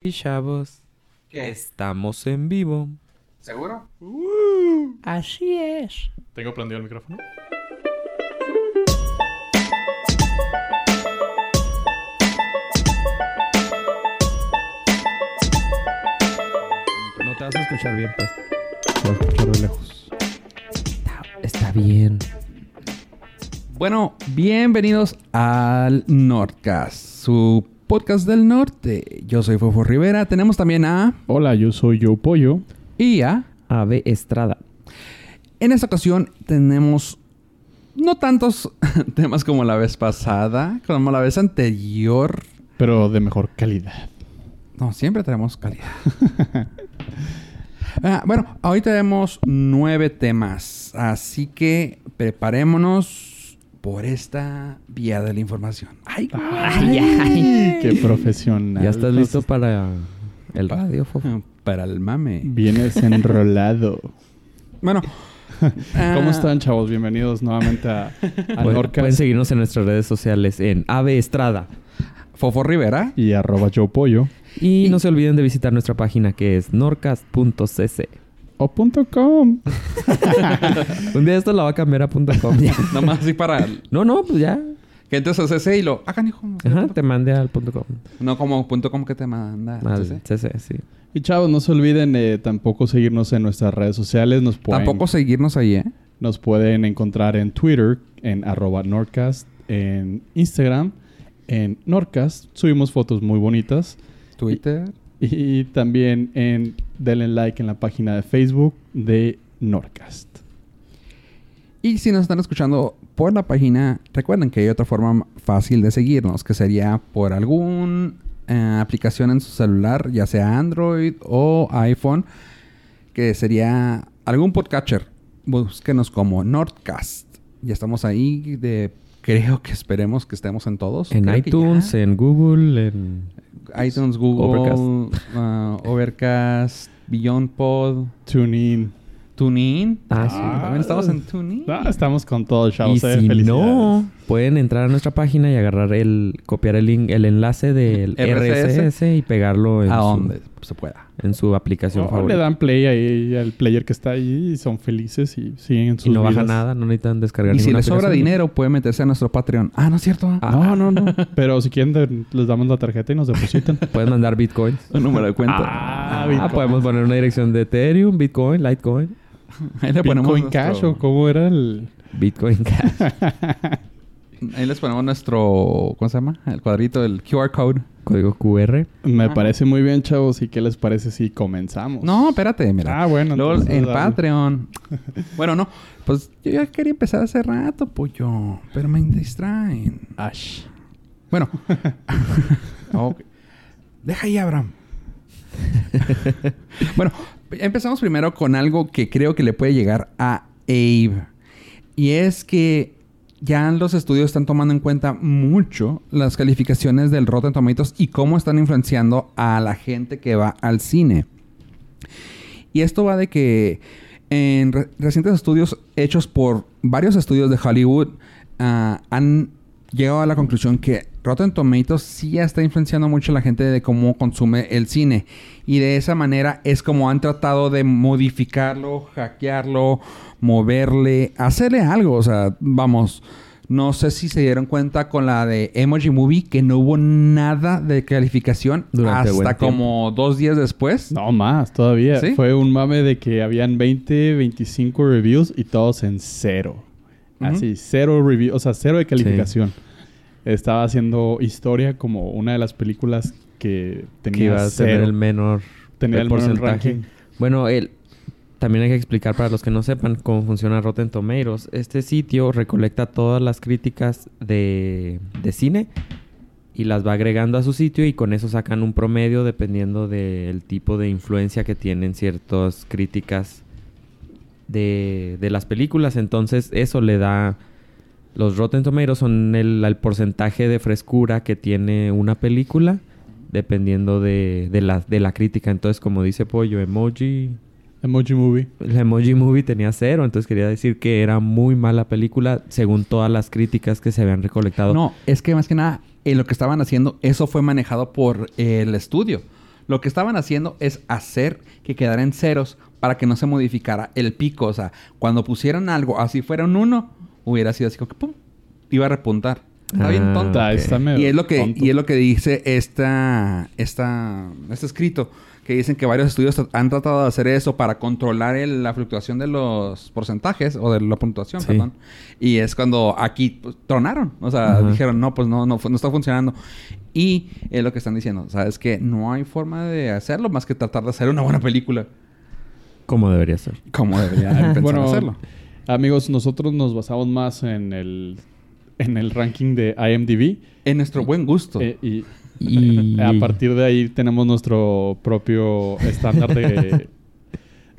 papi chavos. ¿Qué? Estamos en vivo. ¿Seguro? Así es. Tengo prendido el micrófono. No te vas a escuchar bien, pues. Te vas a escuchar de lejos. Está, está bien. Bueno, bienvenidos al Nordcast, su podcast del norte. Yo soy Fofo Rivera. Tenemos también a Hola, yo soy Joe Pollo. IA. Ave Estrada. En esta ocasión tenemos no tantos temas como la vez pasada, como la vez anterior. Pero de mejor calidad. No, siempre tenemos calidad. Ah, bueno, hoy tenemos nueve temas, así que preparémonos por esta vía de la información. ¡Ay, Ay, ay. Qué profesional. ¿Ya estás listo para el radio, Fofo? güey! Para el mame. Vienes enrolado. Bueno. Ah. ¿Cómo están, chavos? Bienvenidos nuevamente a, a Pueden, Norcas pueden seguirnos en nuestras redes sociales en Ave Estrada. Fofo Rivera. y arroba Joe Pollo. Y, no se olviden de visitar nuestra página que es norcas.cc. O punto com. Un día esto la va a cambiar a punto .com. Nomás así para no, no, pues ya. gente CC y lo... Ah, canijo. Ajá, te mandé al punto .com. No como punto com que te manda. Al Ah, CC. Pues CC, sí. Y chavos, no se olviden eh, tampoco seguirnos en nuestras redes sociales. Nos pueden, Tampoco seguirnos ahí, ¿eh? nos pueden encontrar en Twitter, en arroba Norcast, en Instagram, en Norcast. Subimos fotos muy bonitas. Twitter. Y también en, denle like en la página de Facebook de Norcast. Y si nos están escuchando por la página, recuerden que hay otra forma fácil de seguirnos, que sería por alguna aplicación en su celular, ya sea Android o iPhone, que sería algún podcatcher. Búsquenos como Nordcast. Ya estamos ahí de... Creo que esperemos que estemos en todos. En Creo que iTunes, ya. en Google, en... iTunes, Google, Overcast. ah, Overcast, Beyond Pod, TuneIn. TuneIn. Ah, sí. También estamos en TuneIn. Ah, estamos con todo, chavos. y eh, si felicidades. no, pueden entrar a nuestra página y agarrar el... Copiar el, link- el enlace del RSS. RSS y pegarlo en, A su, donde Pues se pueda. en su aplicación Oh, le favorita. dan play ahí al player que está ahí y son felices y siguen en sus Y no baja vidas. nada, no necesitan descargar Y si ninguna les sobra aplicación. dinero, puede meterse a nuestro Patreon. Ah, ¿no es cierto? Ah, No, no, no. Pero si quieren, de- les damos la tarjeta y nos depositan. Pueden mandar bitcoins. un número de cuenta. ah, Ah, Bitcoin. podemos poner una dirección de Ethereum, Bitcoin, Litecoin, Ahí le ponemos Bitcoin nuestro- Cash o cómo era el... Bitcoin Cash. Ahí les ponemos nuestro... ¿Cómo se llama? El cuadrito, el QR code. Código QR. Me Ah. parece muy bien, chavos. ¿Y qué les parece si comenzamos? No, espérate, mira. Ah, bueno. Luego entonces en dale. Patreon. bueno, no. Pues yo ya quería empezar hace rato, pollo. Pero me distraen. Ash. Bueno. Ok. Deja ahí, Abraham. bueno, empezamos primero con algo que creo que le puede llegar a Abe. Y es que ya los estudios están tomando en cuenta mucho las calificaciones del Rotten Tomatoes y cómo están influenciando a la gente que va al cine. Y esto va de que en re- recientes estudios hechos por varios estudios de Hollywood ah, han llegado a la conclusión que Rotten Tomatoes sí ya está influenciando mucho a la gente de cómo consume el cine. Y de esa manera es como han tratado de modificarlo, hackearlo, moverle, hacerle algo. O sea, vamos. No sé si se dieron cuenta con la de Emoji Movie que no hubo nada de calificación Durante buen hasta tiempo. como dos días después. No más, todavía. ¿Sí? Fue un mame de que habían 20, 25 reviews y todos en cero. Ujú. Así, cero review, o sea, cero de calificación. Estaba haciendo historia como una de las películas que tenía Que iba a tener cero. el menor Tenía el menor ranking. Bueno, el, también hay que explicar para los que no sepan cómo funciona Rotten Tomatoes. Este sitio recolecta todas las críticas de, de cine y las va agregando a su sitio y con eso sacan un promedio dependiendo del tipo de influencia que tienen ciertas críticas de, de las películas. Entonces eso le da... Los Rotten Tomatoes son el, el porcentaje de frescura que tiene una película dependiendo de, de la, de la crítica. Entonces, como dice Pollo, Emoji... Emoji Movie. La Emoji Movie tenía cero, entonces quería decir que era muy mala película según todas las críticas que se habían recolectado. No, es que más que nada, eh, lo que estaban haciendo, eso fue manejado por eh, el estudio. Lo que estaban haciendo es hacer que quedara en ceros para que no se modificara el pico. O sea, cuando pusieran algo así fuera un 1, hubiera sido así como que pum, iba a repuntar. Está bien Ah, tonto. Está, ok. está medio Y es lo que, tonto. y es lo que dice esta, esta, este escrito, que dicen que varios estudios tra- han tratado de hacer eso para controlar el- la fluctuación de los porcentajes o de la puntuación, Sí. perdón. Y es cuando aquí pues, tronaron, o sea, Ajá. dijeron, no, pues no, no, fu- no está funcionando. Y es lo que están diciendo, o sea, es que no hay forma de hacerlo más que tratar de hacer una buena película, Como debería ser. como debería haber pensado Bueno, hacerlo. Amigos, nosotros nos basamos más en el, en el ranking de IMDb. En nuestro buen gusto. eh, y Y a partir de ahí tenemos nuestro propio estándar de,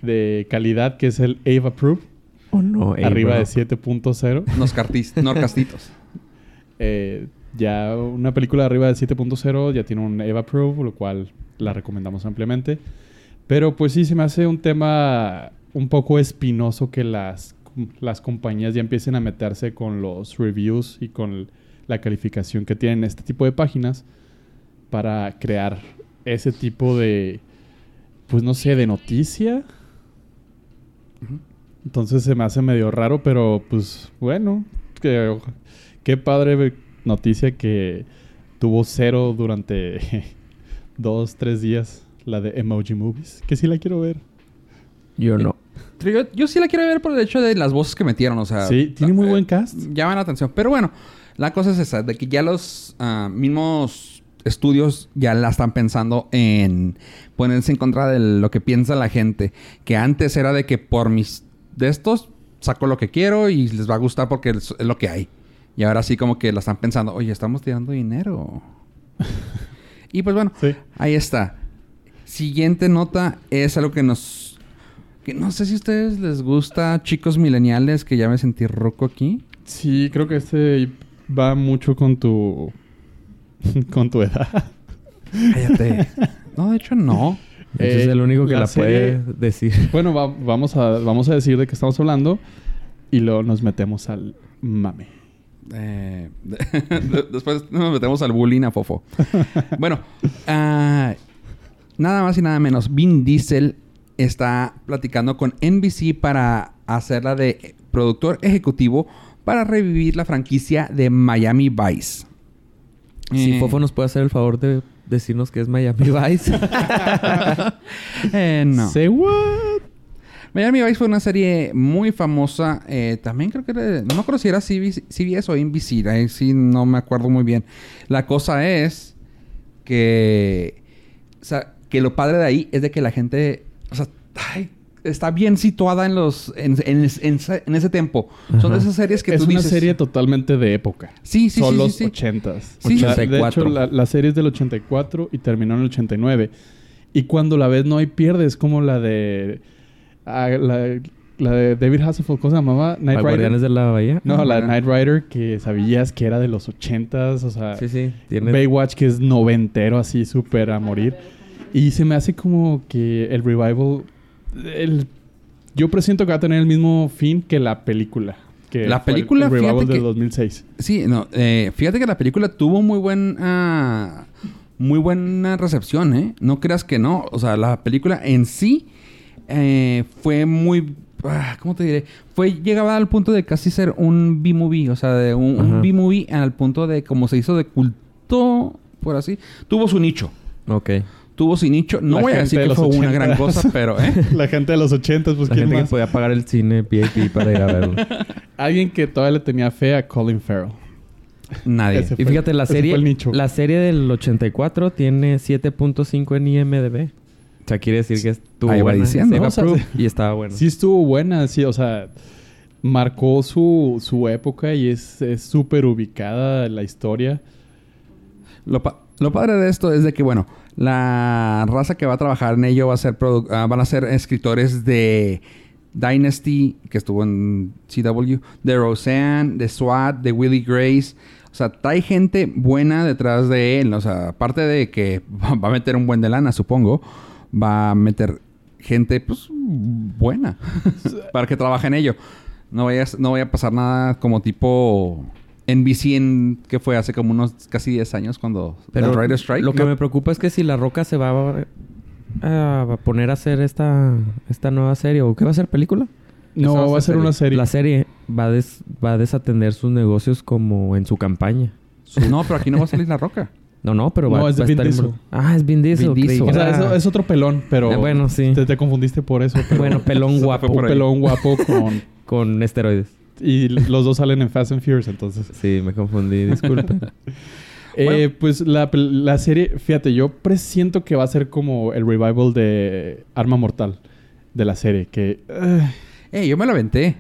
de calidad, que es el AVE Approved, Oh, no, ey, arriba bro. de 7.0. Nos cartis, norcastitos. Eh, ya una película arriba de 7.0 ya tiene un Eva Proof, lo cual la recomendamos ampliamente. Pero pues sí, se me hace un tema un poco espinoso que las, las compañías ya empiecen a meterse con los reviews y con la calificación que tienen este tipo de páginas para crear ese tipo de, pues no sé, de noticia. Entonces se me hace medio raro, pero pues bueno, que, qué padre ve- noticia que tuvo cero durante dos, tres días, la de Emoji Movies, que sí la quiero ver. Yo no. Pero yo, yo sí la quiero ver por el hecho de las voces que metieron, o sea... Sí, tiene muy eh, buen cast. Llaman la atención. Pero bueno, la cosa es esa, de que ya los ah, mismos estudios ya la están pensando en ponerse en contra de lo que piensa la gente. Que antes era de que por mis de estos saco lo que quiero y les va a gustar porque es es lo que hay. Y ahora sí como que la están pensando, oye, estamos tirando dinero. y pues bueno, Sí. Ahí está. Siguiente nota es algo que nos... Que no sé si a ustedes les gusta, chicos mileniales, que ya me sentí roco aquí. Sí, creo que este va mucho con tu con tu edad. Cállate. no, de hecho no. Ese es Eh, el único que la la, puede serie- decir. Bueno, va- vamos a vamos a decir de qué estamos hablando y luego nos metemos al mame. Eh, de- después nos metemos al bullying a Fofo. bueno, ah, nada más y nada menos. Vin Diesel está platicando con NBC para hacerla de productor ejecutivo para revivir la franquicia de Miami Vice. Si Eh, Fofo nos puede hacer el favor de decirnos que es Miami Vice. eh, no. Say what? Miami Vice fue una serie muy famosa. eh, también creo que era... No me acuerdo si era CBS, CBS o NBC. Ahí sí no me acuerdo muy bien. La cosa es que... O sea, que lo padre de ahí es de que la gente... O sea, ay, está bien situada en los... En, en es- en ese- en ese tiempo. Son Ajá. de esas series que es tú una dices... serie totalmente de época. Sí, sí, Son sí, los sí, sí. 80s. Sí. La- de hecho, 84. la, la serie es del 84 y terminó en el 89. Y cuando la ves, no hay pierde. Es como la de. ah, la, la de David Hasselhoff, ¿cómo se llamaba? Knight ¿A Rider. Guardianes de la Bahía? No, la de Ah. Knight Rider, que sabías que era de los 80s. O sea, Sí, sí. Tiene... Baywatch, que es noventero, así súper a morir. Y se me hace como que el revival. el- yo presiento que va a tener el mismo fin que la película. Que La fue el- película, El, revival fíjate del que- 2006. Sí, no. eh, fíjate que la película tuvo muy buen... ah, muy buena recepción, ¿eh? No creas que no. O sea, la película en sí eh, fue muy... ah, ¿Cómo te diré? Fue... Llegaba al punto de casi ser un B-movie. O sea, de un, un Ajá. B-movie al punto de como se hizo de culto, por así. Tuvo su nicho. Ok. Tuvo su nicho. No La voy a gente decir de que los fue una 80s. gran cosa, pero... ¿eh? La gente de los 80, pues La ¿quién gente que más? podía pagar el cine VIP para ir a verlo. Alguien que todavía le tenía fe a Colin Farrell. Nadie. Ese Y fue- fíjate, la ese fue serie, el nicho. la serie del 84 tiene 7.5 en IMDb. O sea, quiere decir que estuvo Ahí va buena. diciendo. Se No, o sea, approved y estaba bueno. Sí estuvo buena, sí, o sea, marcó su, su época y es es súper ubicada la historia. Lo, pa- lo padre de esto es de que, bueno, la raza que va a trabajar en ello va a ser produ- ah, van a ser escritores de Dynasty, que estuvo en CW, de Roseanne, de SWAT, de Willie Grace. O sea, hay gente buena detrás de él. O sea, aparte de que va va a meter un buen de lana, supongo, va a meter gente, pues, buena para que trabaje en ello. No, vayas, no vaya a pasar nada como tipo NBC en que fue hace como unos casi 10 años cuando Pero el Rider Strike. lo que ¿no? me preocupa es que si La Roca se va a, a poner a hacer esta, esta nueva serie o qué va a ser película. No, va a ser una serie. La serie va a, des- va a desatender sus negocios como en su campaña. No, pero aquí no va a salir la roca. No, no, pero va, No, es va a Vin estar... Diesel. invol- Ah, es Vin Diesel. Vin creí Diesel. que O sea, era- eso- es otro pelón, pero... Eh, Ah, bueno, sí. Te, te confundiste por eso. pero- Bueno, pelón guapo por un ahí. pelón guapo con... con esteroides. Y los dos salen en Fast and Furious, entonces. Sí, me confundí, disculpen. Eh, pues la, pel- la serie, fíjate, yo presiento que va a ser como el revival de Arma Mortal de la serie. Que. eh, Eh, yo me la aventé.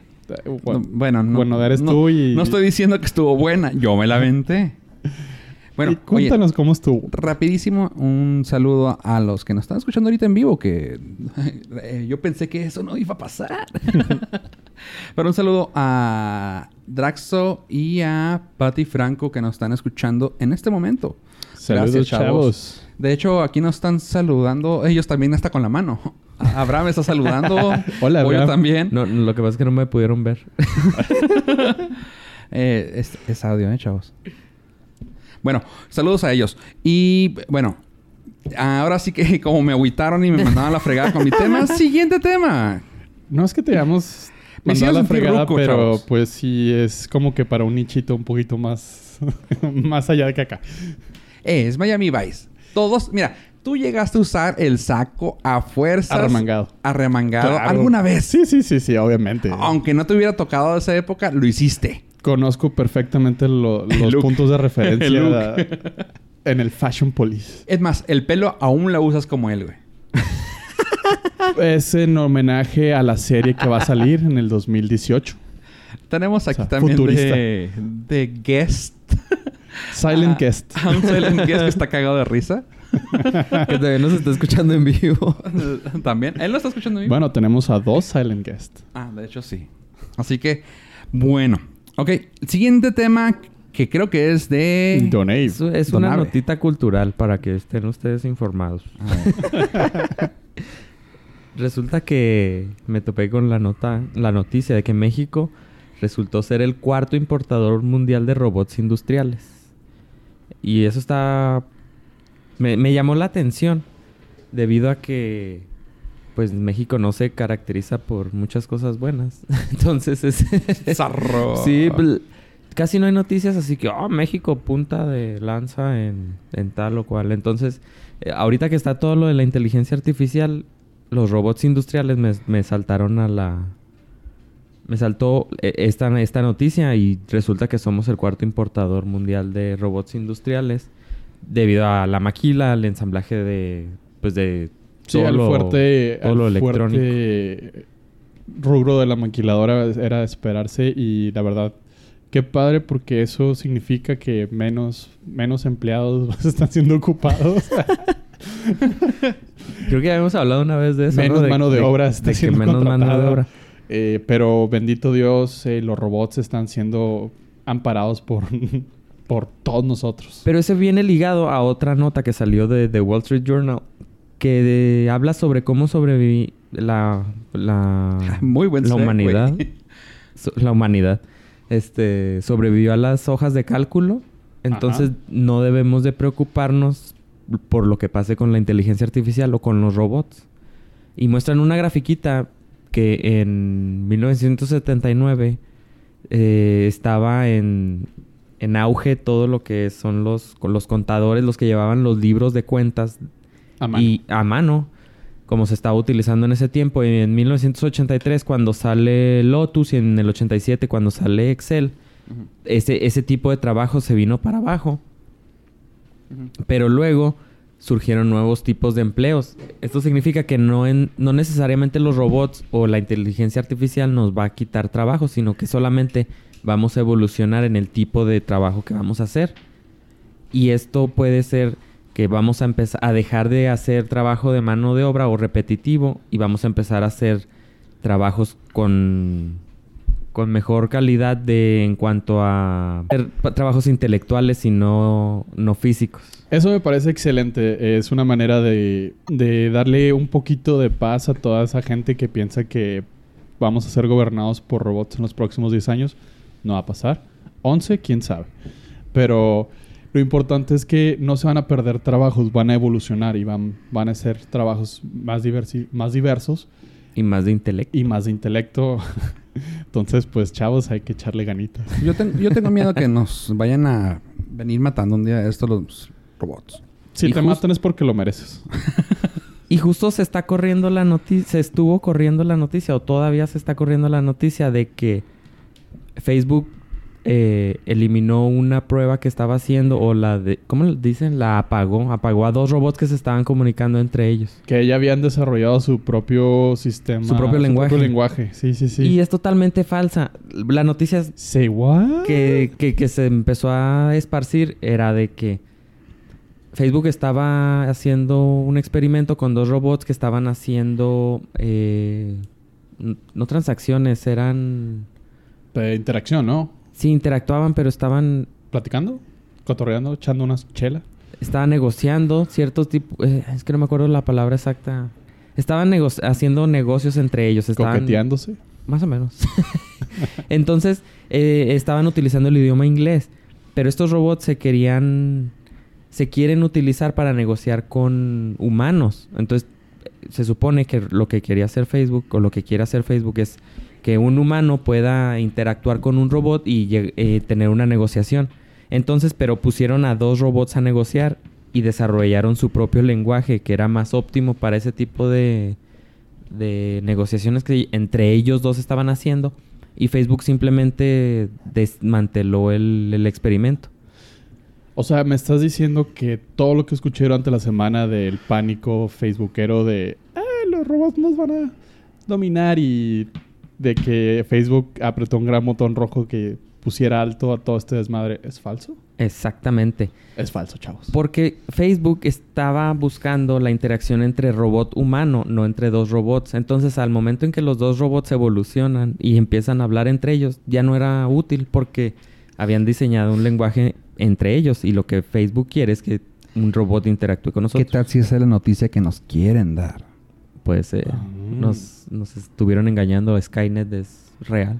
bueno, No, bueno, no. bueno, eres no- tú y. No estoy diciendo que estuvo buena. Yo me la aventé. Bueno, Y oye, cuéntanos cómo estuvo. rapidísimo un saludo a los que nos están escuchando ahorita en vivo, que eh, yo pensé que eso no iba a pasar. Pero un saludo a Draxo y a Patty Franco que nos están escuchando en este momento. Saludos, Gracias, chavos. De hecho, aquí nos están saludando. Ellos también hasta con la mano. A- Abraham está saludando. Hola, Pollo Abraham. también. No, lo que pasa es que no me pudieron ver. Eh, es, es audio, ¿eh, chavos? Bueno, saludos a ellos. Y bueno, ahora sí que como me agüitaron y me mandaban a la fregada con mi tema, siguiente tema. No es que te hayamos Me mandado a la hicieron sentir fregada, ruco, pero chavos. pues sí es como que para un nichito un poquito más. más allá de que acá. Eh, es Miami Vice. Todos, mira, tú llegaste a usar el saco a fuerzas. Arremangado. Arremangado Claro. alguna vez. Sí, sí, sí, sí, obviamente. Aunque no te hubiera tocado esa época, lo hiciste. Conozco perfectamente lo- los look. puntos de referencia El look. da- en el Fashion Police. Es más, el pelo aún lo usas como él, güey. Ah. Es en homenaje a la serie que va a salir en el 2018. Tenemos aquí O sea, también futurista. de, de guest. Silent Guest. A Ah, un silent guest que está cagado de risa. que también nos está escuchando en vivo. También. Él lo está escuchando bien. Bueno, tenemos a dos Silent Guest. Ah, de hecho sí. Así que, bueno. Ok, el siguiente tema que creo que es de. Don Abe. Es, es una Donable. notita cultural para que estén ustedes informados. A ver. Resulta que me topé con la nota, la noticia de que México resultó ser el cuarto importador mundial de robots industriales. Y eso está me, me llamó la atención debido a que pues México no se caracteriza por muchas cosas buenas. Entonces es Zarro. Sí, bl- casi no hay noticias, así que, oh, México punta de lanza en, en tal o cual. Entonces, eh, ahorita que está todo lo de la inteligencia artificial, los robots industriales me, me saltaron a la... Me saltó eh, esta, esta noticia y resulta que somos el cuarto importador mundial de robots industriales debido a la maquila, al ensamblaje de... Pues de... Sí, todo al lo- fuerte, todo lo al electrónico. fuerte rubro de la maquiladora era de esperarse y la verdad, qué padre porque eso significa que menos, menos empleados están siendo ocupados. Creo que ya habíamos hablado una vez de eso. Menos ¿no? mano de obra está de que siendo menos mano de contratada. obra. Eh, pero bendito Dios, eh, los robots están siendo amparados por, por todos nosotros. Pero ese viene ligado a otra nota que salió de The Wall Street Journal que de- habla sobre cómo sobreviví la la, Muy buen la segue. humanidad So- la humanidad este sobrevivió a las hojas de cálculo entonces Ajá. no debemos de preocuparnos por lo que pase con la inteligencia artificial o con los robots y muestran una grafiquita que en 1979 eh, estaba en, en auge todo lo que son los, con los contadores, los que llevaban los libros de cuentas A mano. y a mano, como se estaba utilizando en ese tiempo. Y en 1983, cuando sale Lotus, y en el 87, cuando sale Excel, Ujú, ese, ese tipo de trabajo se vino para abajo. ujú. Pero luego surgieron nuevos tipos de empleos. Esto significa que no, en- no necesariamente los robots o la inteligencia artificial nos va a quitar trabajo, sino que solamente vamos a evolucionar en el tipo de trabajo que vamos a hacer. Y esto puede ser que vamos a empezar a dejar de hacer trabajo de mano de obra o repetitivo y vamos a empezar a hacer trabajos con con mejor calidad de en cuanto a hacer pa- trabajos intelectuales y no no físicos. Eso me parece excelente. Es una manera de, de darle un poquito de paz a toda esa gente que piensa que vamos a ser gobernados por robots en los próximos 10 años. No va a pasar. 11, quién sabe. Pero lo importante es que no se van a perder trabajos, van a evolucionar y van, van a ser trabajos más, diversi- más diversos Y más de intelecto. y más de intelecto. Entonces, pues chavos, hay que echarle ganitas. Yo, ten- yo tengo miedo que nos vayan a venir matando un día estos los robots. Si Y te jus- matan es porque lo mereces. Y justo se está corriendo la noticia, se estuvo corriendo la noticia o todavía se está corriendo la noticia de que Facebook eh, eliminó una prueba que estaba haciendo o la de, ¿cómo le dicen? La apagó, apagó a dos robots que se estaban comunicando entre ellos. Que ya habían desarrollado su propio sistema. Su propio lenguaje. lenguaje. Sí, sí, sí. Y es totalmente falsa. La noticia es Say what? que, que- que se empezó a esparcir era de que Facebook estaba haciendo un experimento con dos robots que estaban haciendo eh, n- no transacciones, eran Eh, interacción, ¿no? sí interactuaban, pero estaban Platicando, cotorreando, echando unas chela. estaban negociando ciertos tipos, es que no me acuerdo la palabra exacta. Estaban nego- haciendo negocios entre ellos, estaban Coqueteándose. Más o menos. Entonces, eh, estaban utilizando el idioma inglés. Pero estos robots se querían. Se quieren utilizar para negociar con humanos. Entonces, eh, se supone que lo que quería hacer Facebook o lo que quiere hacer Facebook es que un humano pueda interactuar con un robot y lleg- eh, tener una negociación. Entonces, pero pusieron a dos robots a negociar y desarrollaron su propio lenguaje que era más óptimo para ese tipo de, de negociaciones que entre ellos dos estaban haciendo y Facebook simplemente desmanteló el, el experimento. O sea, me estás diciendo que todo lo que escuché durante la semana del pánico facebookero de "Ah, los robots nos van a dominar y de que Facebook apretó un gran botón rojo que pusiera alto a todo este desmadre, ¿es falso? Exactamente. Es falso, chavos. Porque Facebook estaba buscando la interacción entre robot humano, no entre dos robots. Entonces, al momento en que los dos robots evolucionan y empiezan a hablar entre ellos, ya no era útil porque habían diseñado un lenguaje entre ellos y lo que Facebook quiere es que un robot interactúe con ¿Qué nosotros. tal si esa es la noticia que nos quieren dar? Puede ser. Ah. pues, eh, Nos, nos estuvieron engañando. Skynet es real.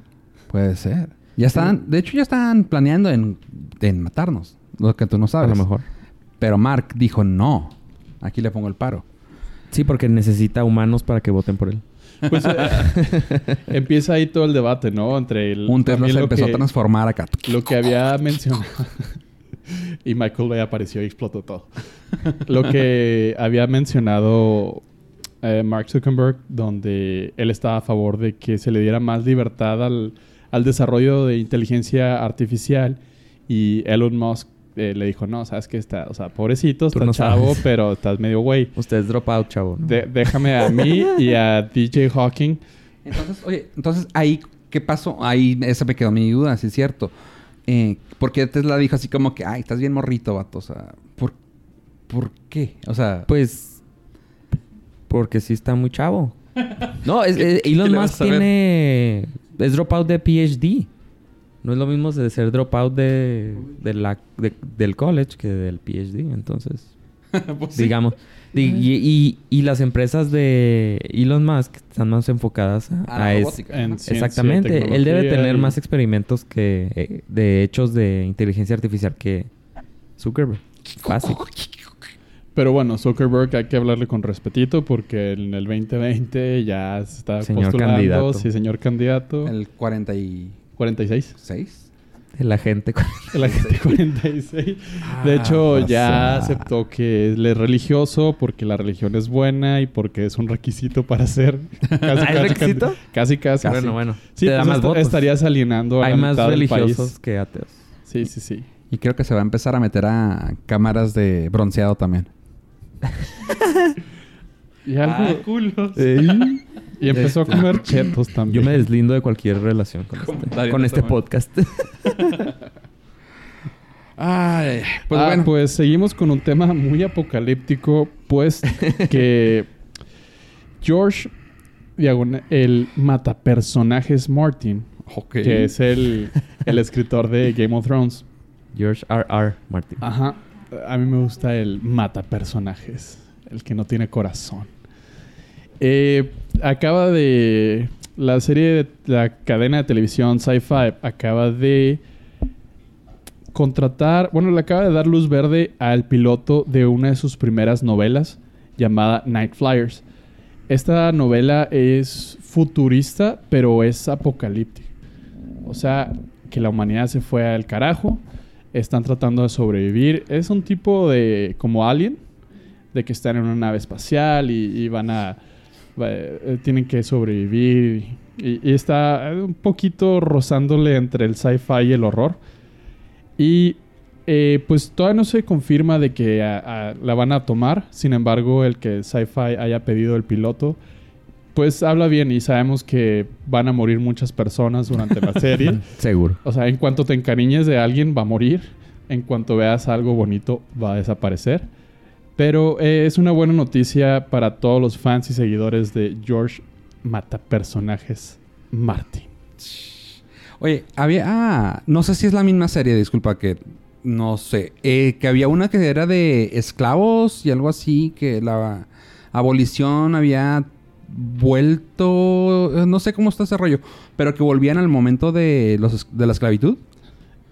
Puede ser. Ya están, de hecho ya están planeando en, en matarnos, lo que tú no A sabes. lo mejor. Pero Mark dijo no. Aquí le pongo el paro. Sí, porque necesita humanos para que voten por él. Pues eh, empieza ahí todo el debate, ¿no? Entre el... Un Tesla también se lo empezó que- a transformar acá. Lo que había mencionado. y Michael Bay apareció y explotó todo. Lo que había mencionado eh, Mark Zuckerberg, donde él estaba a favor de que se le diera más libertad al, al desarrollo de inteligencia artificial. Y Elon Musk eh, le dijo: No, sabes que está, o sea, pobrecito, Tú está no chavo, sabes". pero estás medio güey. Usted es dropout, chavo. ¿no? De- déjame a mí y a DJ Hawking. Entonces, oye, entonces ahí, ¿qué pasó? Ahí, esa me quedó mi duda, sí es cierto. Eh, porque Tesla dijo así como que, ay, estás bien morrito, vato. O sea, ¿por, por qué? O sea, Pues. Porque sí está muy chavo. No, es, es- ¿Qué- Elon qué le Musk vas a ver? tiene. Es dropout de PhD. No es lo mismo de ser dropout de, de la, de- del college que del PhD. Entonces, pues sí. digamos. Di- y, y- y las empresas de Elon Musk están más enfocadas a, A la a es- robótica. en ¿no? ciencia, Exactamente. Él debe tecnología tener y- más experimentos que eh, de hechos de inteligencia artificial que Zuckerberg. Fácil. Pero bueno, Zuckerberg hay que hablarle con respetito porque en el 2020 ya se está Señor postulando. candidato. Sí, señor candidato. El 46. 46. La gente. con- El agente 46. De hecho, Ah, o ya sea. aceptó que él es religioso porque la religión es buena y porque es un requisito para ser. Casi, ¿Ah, es casi, requisito? can- Casi, casi. Bueno, bueno. Sí, Te da pues más esta- votos. estarías alienando a Hay la más mitad del religiosos Ah, país. que ateos. Sí, sí, sí. Y creo que se va a empezar a meter a cámaras de bronceado también. Y algo- Y empezó a comer chetos también. Yo me deslindo de cualquier relación con este, Comentario con de este Samuel. podcast. Ay, pues Ah, bueno. pues seguimos con un tema muy apocalíptico, pues que George diagonal, el matapersonajes Martin, Ok. que es el, el escritor de Game of Thrones. George R. R. Martin. Ajá. A mí me gusta el matapersonajes, el que no tiene corazón. Eh, acaba de la serie de la cadena de televisión Sci-Fi acaba de contratar, bueno, le acaba de dar luz verde al piloto de una de sus primeras novelas llamada Night Flyers. Esta novela es futurista, pero es apocalíptica. O sea, que la humanidad se fue al carajo, están tratando de sobrevivir. Es un tipo de como alien, de que están en una nave espacial y, y van a va- eh, tienen que sobrevivir y, y está eh, un poquito rozándole entre el sci-fi y el horror. Y eh, pues todavía no se confirma de que a- a- la van a tomar. Sin embargo, el que Sci-Fi haya pedido el piloto, pues habla bien y sabemos que van a morir muchas personas durante la serie. Seguro. O sea, en cuanto te encariñes de alguien, va a morir. En cuanto veas algo bonito, va a desaparecer. Pero eh, es una buena noticia para todos los fans y seguidores de George Matapersonajes Martin. Oye, había. Ah, no sé si es la misma serie, disculpa que. No sé. Eh, que había una que era de esclavos y algo así, que la abolición había vuelto. eh, No sé cómo está ese rollo, pero que volvían al momento de, los, es- de la esclavitud.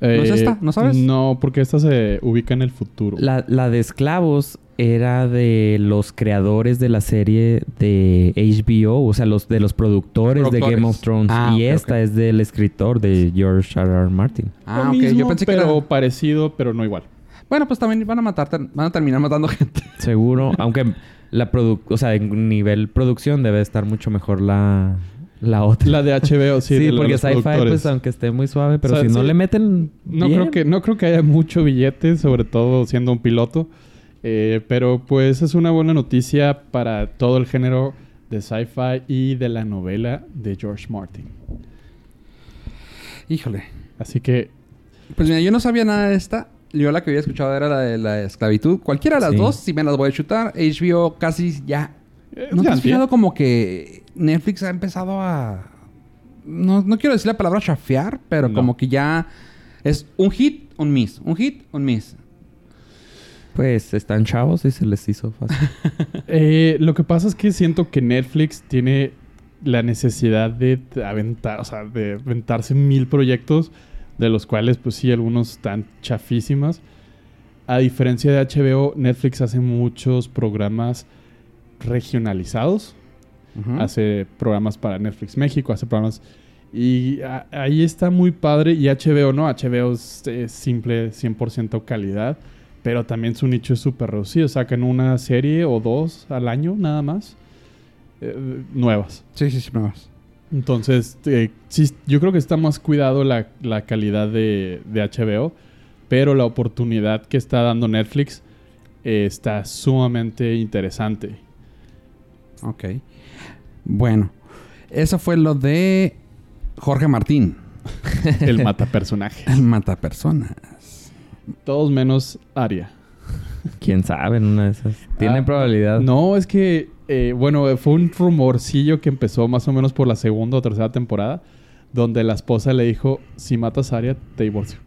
es Eh, esta? ¿No sabes? No, porque esta se ubica en el futuro. La, la de esclavos era de los creadores de la serie de HBO, o sea, los de los productores, de Productores. Game of Thrones. Ah, y ok, esta ok. es del escritor de George R. R. Martin. Ah, Lo ok. Yo mismo, pensé que pero era- parecido, pero no igual. Bueno, pues también van a matar, van a terminar matando gente. Seguro, aunque la produ o sea, en nivel producción debe estar mucho mejor la, la otra. La de HBO, sí. sí, de los porque sci-fi, productores. pues aunque esté muy suave, pero O sea, si no sí. le meten. No bien, creo, que, no creo que haya mucho billete, sobre todo siendo un piloto. Eh, pero pues es una buena noticia para todo el género de sci-fi y de la novela de George Martin. Híjole. Así que Pues mira, yo no sabía nada de esta. Yo la que había escuchado era la de la esclavitud. Cualquiera de las Sí. dos, si me las voy a chutar. HBO casi ya. eh, ¿No te ya has bien. fijado como que Netflix ha empezado a... No, no quiero decir la palabra chafear, pero No. como que ya es un hit, un miss. Un hit, un miss. Pues están chavos y se les hizo fácil. Eh, lo que pasa es que siento que Netflix tiene la necesidad de t- aventar, o sea, de aventarse mil proyectos, de los cuales, pues sí, algunos están chafísimas. A diferencia de HBO, Netflix hace muchos programas regionalizados. Ujú. Hace programas para Netflix México, hace programas. Y a- ahí está muy padre. Y HBO, ¿no? HBO es, eh, simple, 100% calidad. Pero también su nicho es súper reducido. Sacan una serie o dos al año, nada más. eh, nuevas. Sí, sí, sí. no más. Entonces, eh, sí, yo creo que está más cuidado la, la calidad de, de HBO, pero la oportunidad que está dando Netflix eh, está sumamente interesante. Ok. Bueno. Eso fue lo de Jorge Martín. El matapersonaje. El matapersonas. Todos menos Aria. Quién sabe, en una de esas. Tienen Ah, probabilidad. No, es que, eh, bueno, fue un rumorcillo que empezó más o menos por la segunda o tercera temporada, donde la esposa le dijo, si matas a Aria, te divorcio.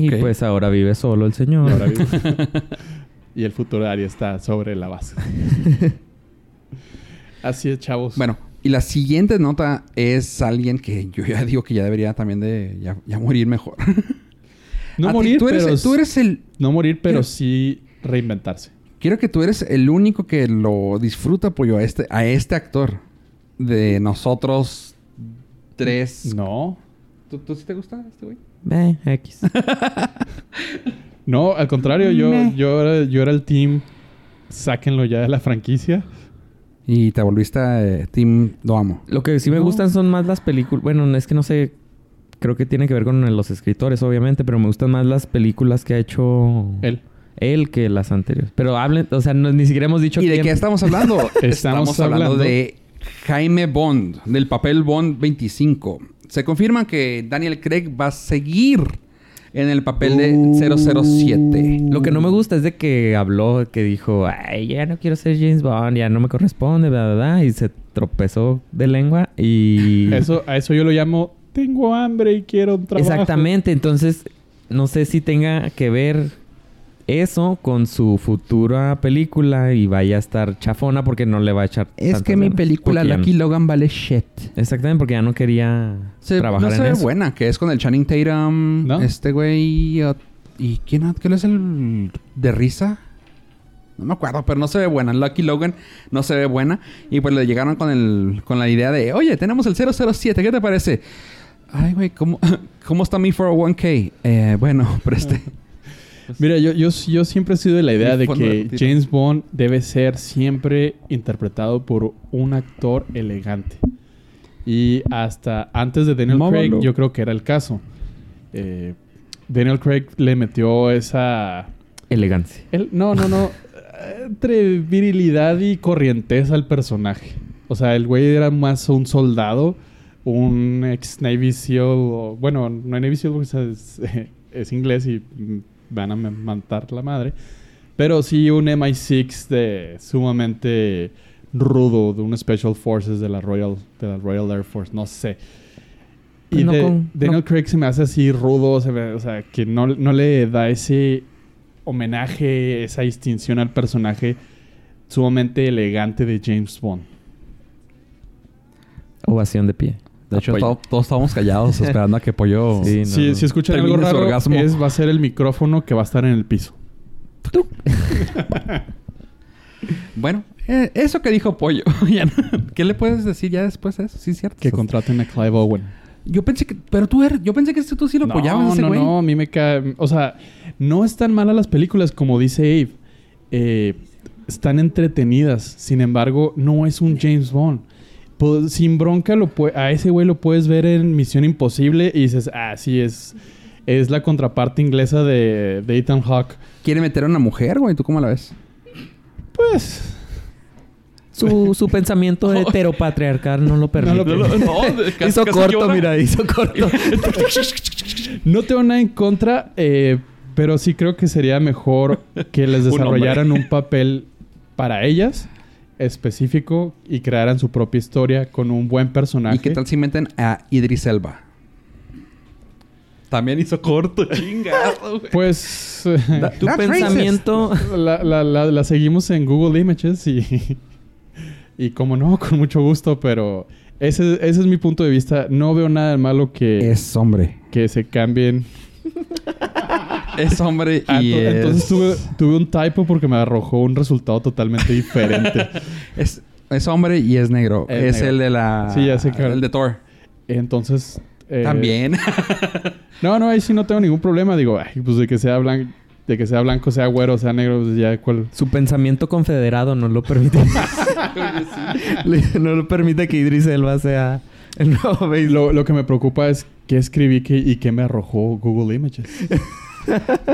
Y ok. pues ahora vive solo el Y, señor. ahora vive. Y el futuro de Aria está sobre la base. Así es, chavos. Bueno, y la siguiente nota es alguien que yo ya digo que ya debería también de ya, ya morir mejor. no A ti, morir, tú eres, pero... tú eres el... No morir, Mira. pero sí reinventarse. Quiero que tú eres el único que lo disfruta, pollo, a este, a este actor. De nosotros tres. No. ¿Tú, tú sí te gusta este güey? Eh, X. No, al contrario, yo, Meh. yo, era, yo era el team. Sáquenlo ya de la franquicia. Y te volviste eh, Team Lo Amo. Lo que sí me No. gustan son más las películas. Bueno, no, es que no sé. Creo que tiene que ver con los escritores, obviamente, pero me gustan más las películas que ha hecho Él. él que las anteriores. Pero hablen, o sea, no- ni siquiera hemos dicho ¿Y de quién. qué estamos hablando? estamos, hablando, hablando- de Jaime Bond, del papel Bond 25. Se confirma que Daniel Craig va a seguir en el papel de 007. Lo que no me gusta es de que habló, que dijo, ay, ya no quiero ser James Bond, ya no me corresponde, bla, bla, bla", y se tropezó de lengua Mm. y... Eso, a eso yo lo llamo, tengo hambre y quiero un trabajo. Exactamente, entonces no sé si tenga que ver eso con su futura película y vaya a estar chafona porque no le va a echar... Es tantas que mi ganas. película Porque ya no- Lucky Logan vale shit. Exactamente, porque ya no quería Se, trabajar no se en ve eso. buena, que es con el Channing Tatum, ¿No? este güey, ot- ¿Y quién, quién es el de risa? No me acuerdo, pero no se ve buena. Lucky Logan no se ve buena. Y pues le llegaron con, el, con la idea de, oye, tenemos el 007, ¿qué te parece? Ay, güey, ¿cómo, ¿cómo está mi 401k? Eh, bueno, preste. Mira, yo, yo, yo siempre he sido de la idea Mi de fondo que de tiro. James Bond debe ser siempre interpretado por un actor elegante. Y hasta antes de Daniel Móvalo. Craig, yo creo que era el caso. Eh, Daniel Craig le metió esa. Elegancia. el- no, no, no. Entre virilidad y corrientez al personaje. O sea, el güey era más un soldado, un ex Navy SEAL. o- bueno, no es Navy SEAL porque es, es inglés y mm, van a me- matar la madre. Pero sí un MI6 de sumamente rudo, de un Special Forces de la Royal, de la Royal Air Force, no sé. Y No de- con- Daniel no- Craig se me hace así rudo, se me- o sea, que no, no le da ese homenaje, esa distinción al personaje sumamente elegante de James Bond. Ovación de pie. De hecho, Apoyo. to- todos estábamos callados esperando a que Pollo... Sí. no, si, no. si escuchan Termine algo su raro, orgasmo. es, va a ser el micrófono que va a estar en el piso. Bueno, eh, eso que dijo Pollo. ya no- ¿Qué le puedes decir ya después de eso? Sí, es cierto. Que contraten a Clive Owen. Yo pensé que... Pero tú eres... Yo pensé que este tú sí lo apoyabas a ese no, pues güey. no, a mí me cae... O sea, no están malas las películas, como dice Abe. Eh, están entretenidas. Sin embargo, no es un James Bond. Po- sin bronca, lo pue- a ese güey lo puedes ver en Misión Imposible y dices, ah, sí, es, es la contraparte inglesa de, de Ethan Hawke. Quiere meter a una mujer, güey. ¿Tú cómo la ves? Pues... Su, su pensamiento de heteropatriarcal no lo permite. hizo corto, mira, hizo corto. No tengo nada en contra, eh, pero sí creo que sería mejor que les Un hombre. desarrollaran un papel para ellas específico y crearan su propia historia con un buen personaje. ¿Y qué tal si meten a Idris Elba? También hizo corto, chingado, güey. Pues eh, Da- Tu That's pensamiento. la, la- la- la seguimos en Google Images y, y como no, con mucho gusto, pero ese, ese es mi punto de vista. No veo nada de malo que, Es hombre. que se cambien. Es hombre Ah, y ento- es... Entonces tuve, tuve un typo porque me arrojó un resultado totalmente diferente. Es, es hombre y es negro. Es Es, negro. el de la... Sí, ya sé que- El de Thor. Entonces. eh, También. No, no, ahí sí no tengo ningún problema. Digo, ay, pues de que sea blanco, de que sea blanco, sea güero, sea negro, pues ya cuál. Su pensamiento confederado no lo permite. Le- no lo permite que Idris Elba sea el nuevo Y Bale. Lo, lo que me preocupa es qué escribí que- y qué me arrojó Google Images.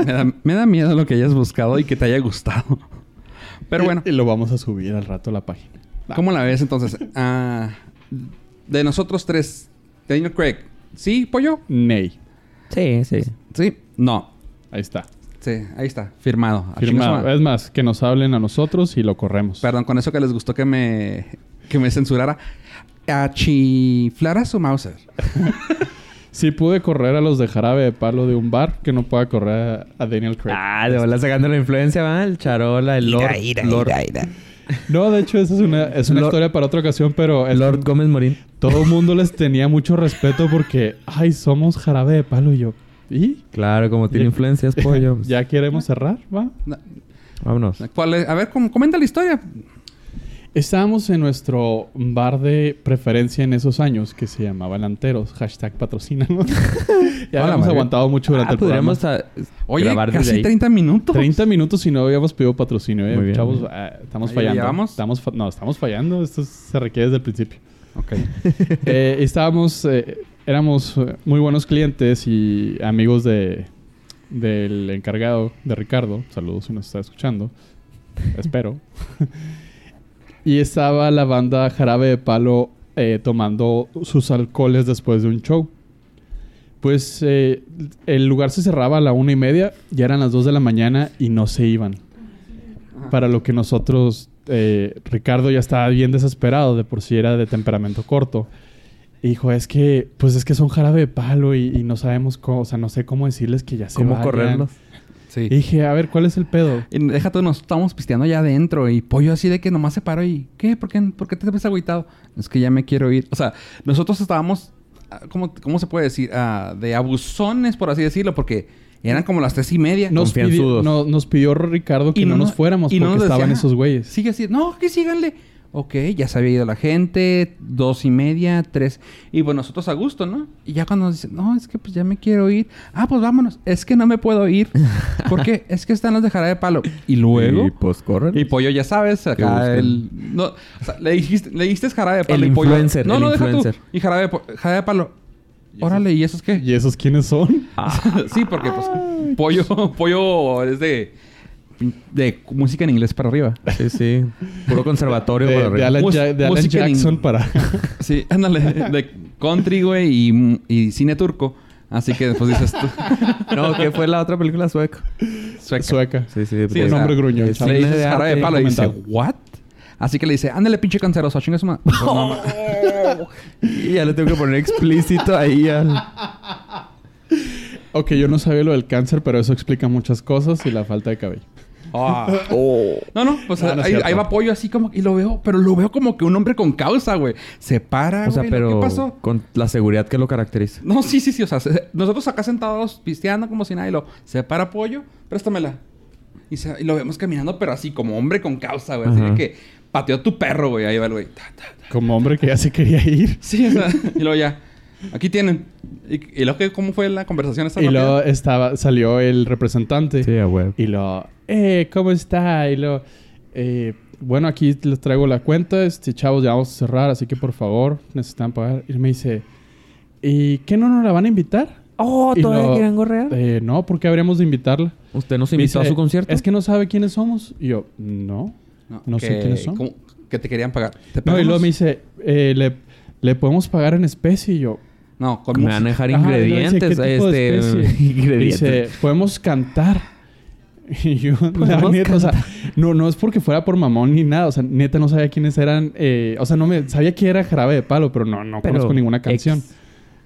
me, da, me da miedo lo que hayas buscado y que te haya gustado. Pero bueno, Y, y lo vamos a subir al rato a la página. ¿cómo la ves entonces? Ah, de nosotros tres, Daniel Craig. ¿Sí, pollo? Ney. Sí, sí. Sí. No. Ahí está. Sí, ahí está. Firmado. A chingar su Firmado. madre. Es más, que nos hablen a nosotros y lo corremos. Perdón, con eso que les gustó que me, que me censurara. A chiflar a su Mauser. Si pude correr a los de jarabe de palo de un bar, que no pueda correr a, a Daniel Craig. Ah, de verdad sacando la influencia, ¿va? El charola, el Lord. Lord, No, de hecho, esa es una, es una Lord- historia para otra ocasión, pero el, Lord Gómez Morín. todo el mundo les tenía mucho respeto porque, ay, somos jarabe de palo y yo. ¿Y? Claro, como tiene Ya- influencias, pollo. pues, ya queremos cerrar, ¿va? No, Vámonos. ¿cuál es? A ver, com- comenta la historia. Estábamos en nuestro bar de preferencia en esos años que se llamaba Lanteros. Hashtag patrocínanos. ya Hola, habíamos Mario. aguantado mucho durante Ah, el programa. podríamos a- Oye, grabar desde casi ahí. 30 minutos. 30 minutos y no habíamos pedido patrocinio, eh, Muy bien, chavos. muy bien. ah, estamos Ahí fallando. llevamos. Estamos fa- no, estamos fallando. Esto se requiere desde el principio. Ok. Eh, estábamos, eh, éramos eh, muy buenos clientes y amigos de del encargado de Ricardo. Saludos si nos está escuchando. Espero. y estaba la banda Jarabe de Palo eh, tomando sus alcoholes después de un show. Pues eh, el lugar se cerraba a la una y media, ya eran las dos de la mañana y no se iban. Para lo que nosotros, eh, Ricardo ya estaba bien desesperado, de por sí era de temperamento corto. Y dijo, es que, pues es que son jarabe de palo y, y no sabemos cómo, o sea, no sé cómo decirles que ya se ¿Cómo vayan". correrlos? Sí. Y dije, a ver, ¿cuál es el pedo? Y déjate, nos estábamos pisteando allá adentro y pollo así de que nomás se paró y ¿qué? ¿Por qué, ¿Por qué te ves agüitado? Es que ya me quiero ir. O sea, nosotros estábamos, ah, ¿cómo, cómo se puede decir? Ah, de abusones, por así decirlo, porque Eran como las tres y media. Nos pidió, Confianzudos. no- nos pidió Ricardo que Y no no nos nos- fuéramos y porque no nos estaban decía. esos güeyes. Sigue así. No, que síganle. Ok, ya se había ido la gente. Dos y media, tres. Y bueno, nosotros a gusto, ¿no? Y ya cuando nos dicen, no, es que pues ya me quiero ir. Ah, pues vámonos. Es que no me puedo ir. Porque es que están los de jarabe de palo. Y luego... Y pues corren. Y pollo, ya sabes, acá buscan. el... No, o sea, le dijiste, le dijiste jarabe de palo El y pollo. influencer, No, el no, deja influencer. tú. Y jarabe de, po- jarabe de palo. Órale, ¿y eso es qué? ¿Y esos quiénes Ah. son? sí, porque pues pollo, pollo es de, de música en inglés para arriba. Sí, sí. Puro conservatorio de, para de arriba. Alan, Mus- Ja- de Alan música en Jackson ing- para... Sí, ándale, de country, güey, y, y cine turco. Así que después dices tú, No, que fue la otra película sueca. sueca. Sueca. Sí, sí. de- Sí, Un o sea, hombre es- gruñón. Le ¿sabes? Cine dices de jarabe arte de palo y dice, documental. ¿what? Así que le dice, ándale, pinche canceroso, chingue su madre. Pues, no, ma- Y ya le tengo que poner explícito ahí al... Ok, yo no sabía lo del cáncer, pero eso explica muchas cosas y la falta de cabello. Ah. No, no, pues No, no es ahí, cierto. ahí va pollo así como, y lo veo, pero lo veo como que un hombre con causa, güey. Se para, O sea, güey, ¿no? pero ¿qué pasó? con la seguridad que lo caracteriza. No, sí, sí, sí. O sea, se- nosotros acá sentados pisteando como si nada y lo se para pollo, préstamela. Y, se- y lo vemos caminando, pero así como hombre con causa, güey. Así de Ajá. que pateó tu perro, güey. Ahí va el güey. Ta, ta, ta. Como hombre que ya se quería ir. Sí, o sea, y luego ya. Aquí tienen. Y, y luego, que- ¿cómo fue la conversación esa Y rápida? luego estaba, salió el representante. a huevo. Y lo, eh, ¿cómo está? Y lo, eh, bueno, aquí les traigo la cuenta. Este, chavos, ya vamos a cerrar, así que por favor, necesitan pagar. Y me dice, ¿y qué no nos la van a invitar? ¡Oh! Y ¿Todavía lo- quieren gorrear? Eh, no, ¿por qué habríamos de invitarla? ¿Usted nos Me invitó a dice, su concierto? Es que no sabe quiénes somos. Y yo, no. no sé quiénes son. ¿cómo- que te querían pagar. ¿Te No, y pagamos? luego me dice, eh, le, ¿le podemos pagar en especie? Y yo, No, con Me van a música. dejar Ajá, ingredientes. y luego dice, este... ¿qué tipo de especie? ingredientes. Dice, podemos cantar. Y yo, la ¿Podemos neta, o sea, no, no es porque fuera por mamón ni nada. O sea, neta no sabía quiénes eran. eh, o sea, no me sabía que era jarabe de palo, pero no, no Pero, conozco ninguna canción. ex.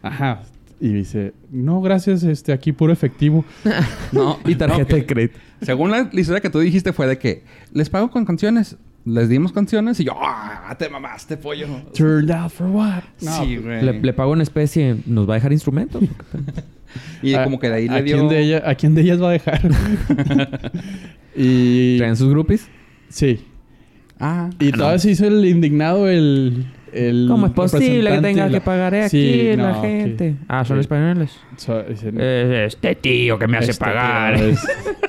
Ajá. Y dice, no, gracias, este, aquí puro efectivo. No, Y tarjeta no, de crédito. Según la, la historia que tú dijiste fue de que les pago con canciones, les dimos canciones y yo, ah, te mamaste, pollo. Turned out for what? No, pues, sí, güey. Le, le pago en especie. ¿Nos va a dejar instrumentos? Y a- como que de ahí ¿a le dio... Quién de ella- ¿A quién de ellas va a dejar? y... ¿Traen sus groupies? Sí. Ah, Y todavía se hizo el indignado el... el ¿Cómo es posible que representante tenga y que la- pagar aquí Sí, la no, que- gente? Ah, son que- españoles. so- dice, Es este tío que me hace este pagar. tío es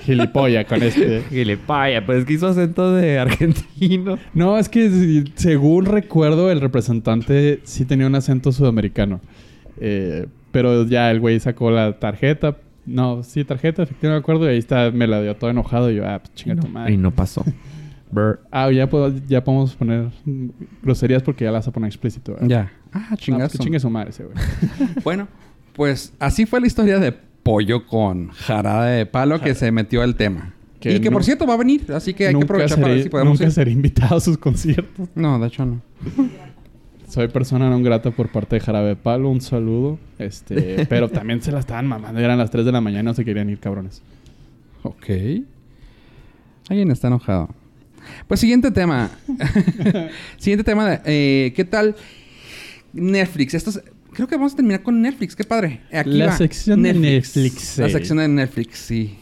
gilipolla con este. Gilipaya, pero es pues, que hizo acento de argentino. No, es que si- según recuerdo, el representante sí tenía un acento sudamericano. Eh, pero ya el güey sacó la tarjeta. No, sí, tarjeta, efectivamente, me acuerdo. Y ahí está, me la dio todo enojado. Y yo, ah, pues chinga tu madre. Y no pasó. Brr. Ah, ya, puedo- ya podemos poner mm, groserías porque ya las vas a poner explícito. ¿verdad? ya. Ah, No, pues chingazo. que chingue su madre ese güey. bueno, pues así fue la historia de pollo con jarada de palo que se metió al tema. Que y que nu- por cierto va a venir, así que hay que nunca aprovechar para ver seré, si podemos nunca ir. seré invitado a sus conciertos. No, de hecho no. Soy persona no grata por parte de Jarabe de Palo. Un saludo. Este, pero también se la estaban mamando. Eran las 3 de la mañana no se querían ir, cabrones. Ok. Alguien está enojado. Pues siguiente tema. siguiente tema. de, eh, ¿Qué tal Netflix? Esto es- creo que vamos a terminar con Netflix. Qué padre. Aquí La va. sección de Netflix, La sí. sección de Netflix, sí.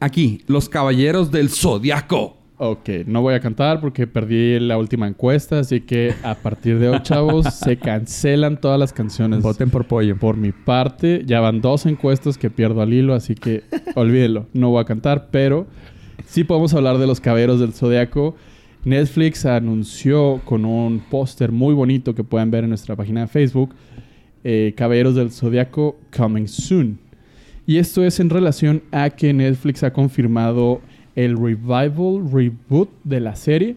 Aquí, Los Caballeros del Zodiaco. Ok, no voy a cantar porque perdí la última encuesta. Así que a partir de hoy, chavos, se cancelan todas las canciones. Voten por pollo. Por mi parte, ya van dos encuestas que pierdo al hilo, así que olvídelo, no voy a cantar, pero sí podemos hablar de los caballeros del zodiaco. Netflix anunció con un póster muy bonito que pueden ver en nuestra página de Facebook, eh, Caballeros del Zodiaco Coming Soon. Y esto es en relación a que Netflix ha confirmado el revival, reboot de la serie.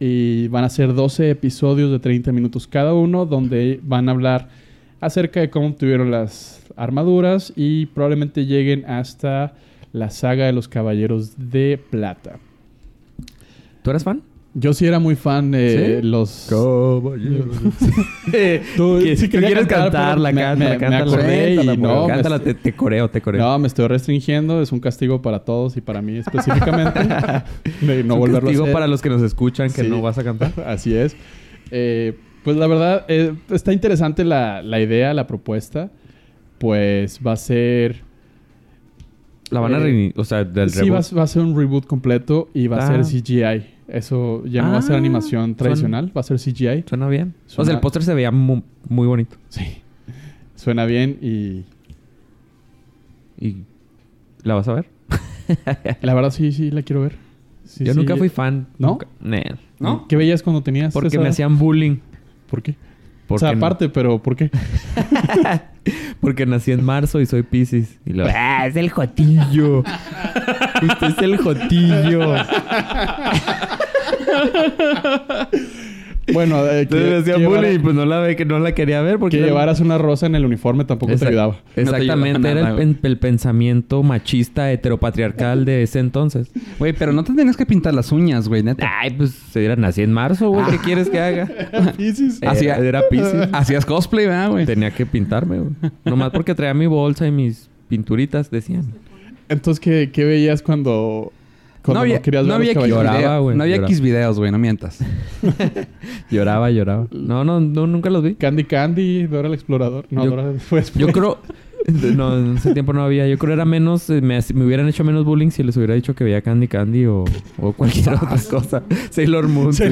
Y van a ser 12 episodios de 30 minutos cada uno, donde van a hablar acerca de cómo obtuvieron las armaduras y probablemente lleguen hasta la saga de los Caballeros de Plata. ¿Tú eras fan? Yo sí era muy fan de ¿Sí? los... Caballero. Tú- que, sí si quería quieres cantar, pero cantarla, me- cántala, me- me cántala. acordé y Cántala, no, pollo, me- cántala, te, te coreo, te coreo. No, me estoy restringiendo, es un castigo para todos y para mí específicamente. de no no volverlo a hacer. para los que nos escuchan que Sí. no vas a cantar. Así es. Eh, pues la verdad, eh, está interesante la, la idea, la propuesta. Pues va a ser La van a Eh, reunir, o sea, del sí, reboot. va, a- va a ser un reboot completo y va Ah. a ser CGI. Eso ya no va a ser Ah, animación son- tradicional, va a ser CGI. Suena bien. O sea, Suena- el póster se veía mu- muy, bonito. Sí. Suena bien y ¿Y la vas a ver? la verdad sí, sí, la quiero ver. Sí, Yo sí. nunca fui fan. ¿No? Nunca- Nah. ¿No? ¿Qué veías cuando tenías Porque esa me edad? hacían bullying. ¿Por qué? O Porque, sea, aparte, pero ¿por qué? porque nací en marzo y soy Pisces. Y lo... ¡Ah, es el Jotillo! Usted es el Jotillo. Bueno, eh, que, Entonces me hacían que bullying y llevara- pues no la, ve- que no la quería ver porque... que llevaras una rosa en el uniforme tampoco Exact- te ayudaba. Exactamente. No te ayudaba era nada, el, pen- el pensamiento machista heteropatriarcal de ese entonces. Güey, pero no te tenías que pintar las uñas, güey, neta. Ay, pues se era nací en marzo, güey. ¿Qué quieres que haga? Piscis. Era- Hacía- era Pisces. Hacías cosplay, ¿verdad, güey? Tenía que pintarme, güey. Nomás porque traía mi bolsa y mis pinturitas, decían. Entonces, ¿qué, qué veías cuando, cuando no, había, querías no ver había los X caballeros? lloraba, video- güey, No había lloraba. X videos, güey, no mientas. Lloraba, lloraba. No, no, no nunca los vi. Candy Candy, Dora el Explorador. No, Yo- Dora fue después. Yo creo... No, en ese tiempo no había. Yo creo era menos... eh, Me, me hubieran hecho menos bullying si les hubiera dicho que veía Candy Candy o, o cualquier otra cosa. Sailor Moon. sí.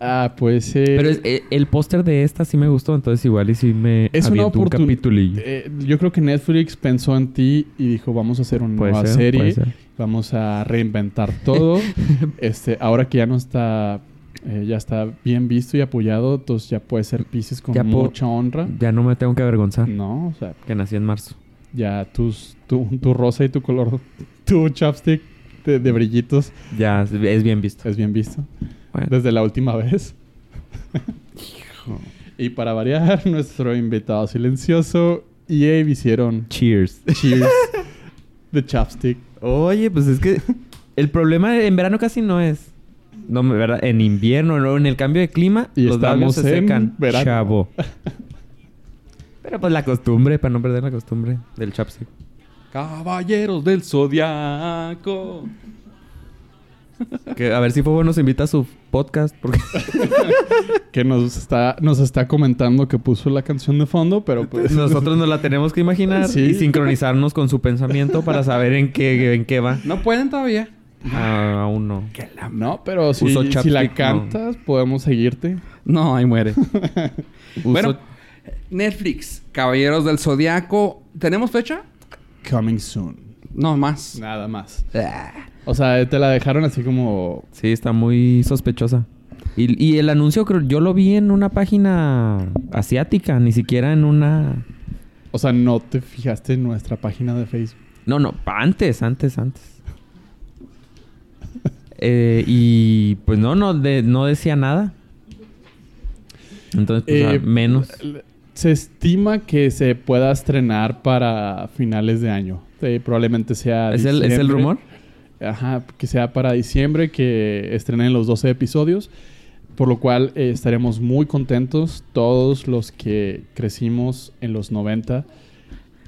ah, pues... eh, Pero es- eh, el póster de esta sí me gustó, entonces igual y sí me Es una aviento un oportun- capitulillo. eh, yo creo que Netflix pensó en ti y dijo, vamos a hacer una Puede nueva ser, puede serie. ser. Vamos a reinventar todo. este, ahora que ya no está... eh, ya está bien visto y apoyado, entonces ya puede ser Pisces con Ya po- mucha honra. Ya no me tengo que avergonzar No, o sea, que nací en marzo. ya tus, tu, tu rosa y tu color, tu chapstick de, de brillitos Ya es bien visto. es bien visto. Bueno. Desde la última vez. y para variar, nuestro invitado silencioso E y Abe hicieron Cheers. Cheers de chapstick. Oye, pues es que el problema en verano casi no es. No, me- ¿verdad? En invierno, no, en el cambio de clima, Y los labios estamos se en secan. verano. Chavo. Pero pues la costumbre, para no perder la costumbre del chapstick. Caballeros del Zodiaco. Que a ver si Fobo nos invita a su podcast. Porque... Que nos está, nos está comentando que puso la canción de fondo, pero pues. Nosotros nos la tenemos que imaginar Sí. y sincronizarnos con su pensamiento para saber en qué, en qué va. No pueden todavía. Ah, aún no. No, pero si, Puso si chapstick, la no. cantas, podemos seguirte. No, ahí muere. Uso- Bueno, Netflix, Caballeros del Zodiaco. ¿Tenemos fecha? Coming soon. No, más. Nada más. Ah. O sea, te la dejaron así como. Sí, está muy sospechosa. Y, y el anuncio creo- yo lo vi en una página asiática, ni siquiera en una... O sea, no te fijaste en nuestra página de Facebook. No, no, antes, antes, antes. Eh, y pues no, no, de- no decía nada. Entonces, pues, Eh, a- menos. Se estima que se pueda estrenar para finales de año. Eh, probablemente sea. ¿Es el, ¿Es el diciembre. rumor? Ajá, que sea para diciembre, que estrenen los 12 episodios. Por lo cual eh, estaremos muy contentos todos los que crecimos en los 90.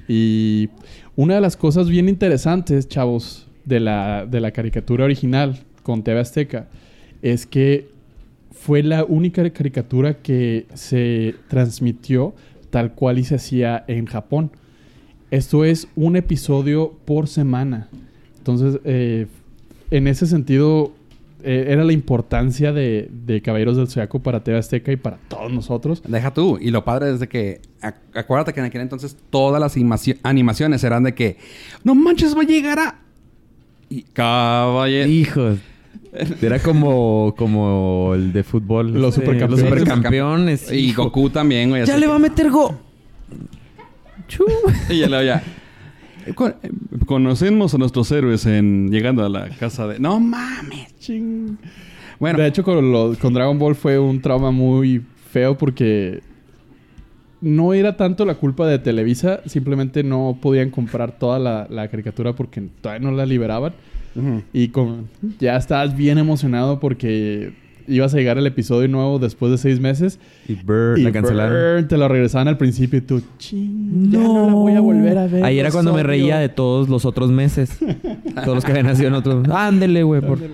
Y una de las cosas bien interesantes, chavos, de la, de la caricatura original con TV Azteca es que fue la única caricatura que se transmitió tal cual y se hacía en Japón. Esto es un episodio por semana. Entonces, eh, en ese sentido, eh, era la importancia de, de Caballeros del Zodiaco para TV Azteca y para todos nosotros. Deja tú. Y lo padre es de que... ac- Acuérdate que en aquel entonces todas las animaci- animaciones eran de que... No manches, va a llegar a... Y caballero... Hijos. Era como, como el de fútbol. Los Este, supercampeones. Los supercampeones. Y hijo. Goku también, güey. Ya así le que- va a meter go. Chu. Y ya luego ya. Con- eh, Conocemos a nuestros héroes en llegando a la casa de. No mames. Ching. Bueno, de hecho, con, lo- con Dragon Ball fue un trauma muy feo porque no era tanto la culpa de Televisa, simplemente no podían comprar toda la, la caricatura porque todavía no la liberaban. ujú. Y con, ya estabas bien emocionado porque ibas a llegar el episodio nuevo después de seis meses. Y Bird Y la cancelaron. brr, te lo regresaban al principio y tú, ching, ya no la voy a volver a ver. Ahí era los cuando me odio". reía de todos los otros meses. todos los que habían nacido en otros. Ándele, güey. Por, por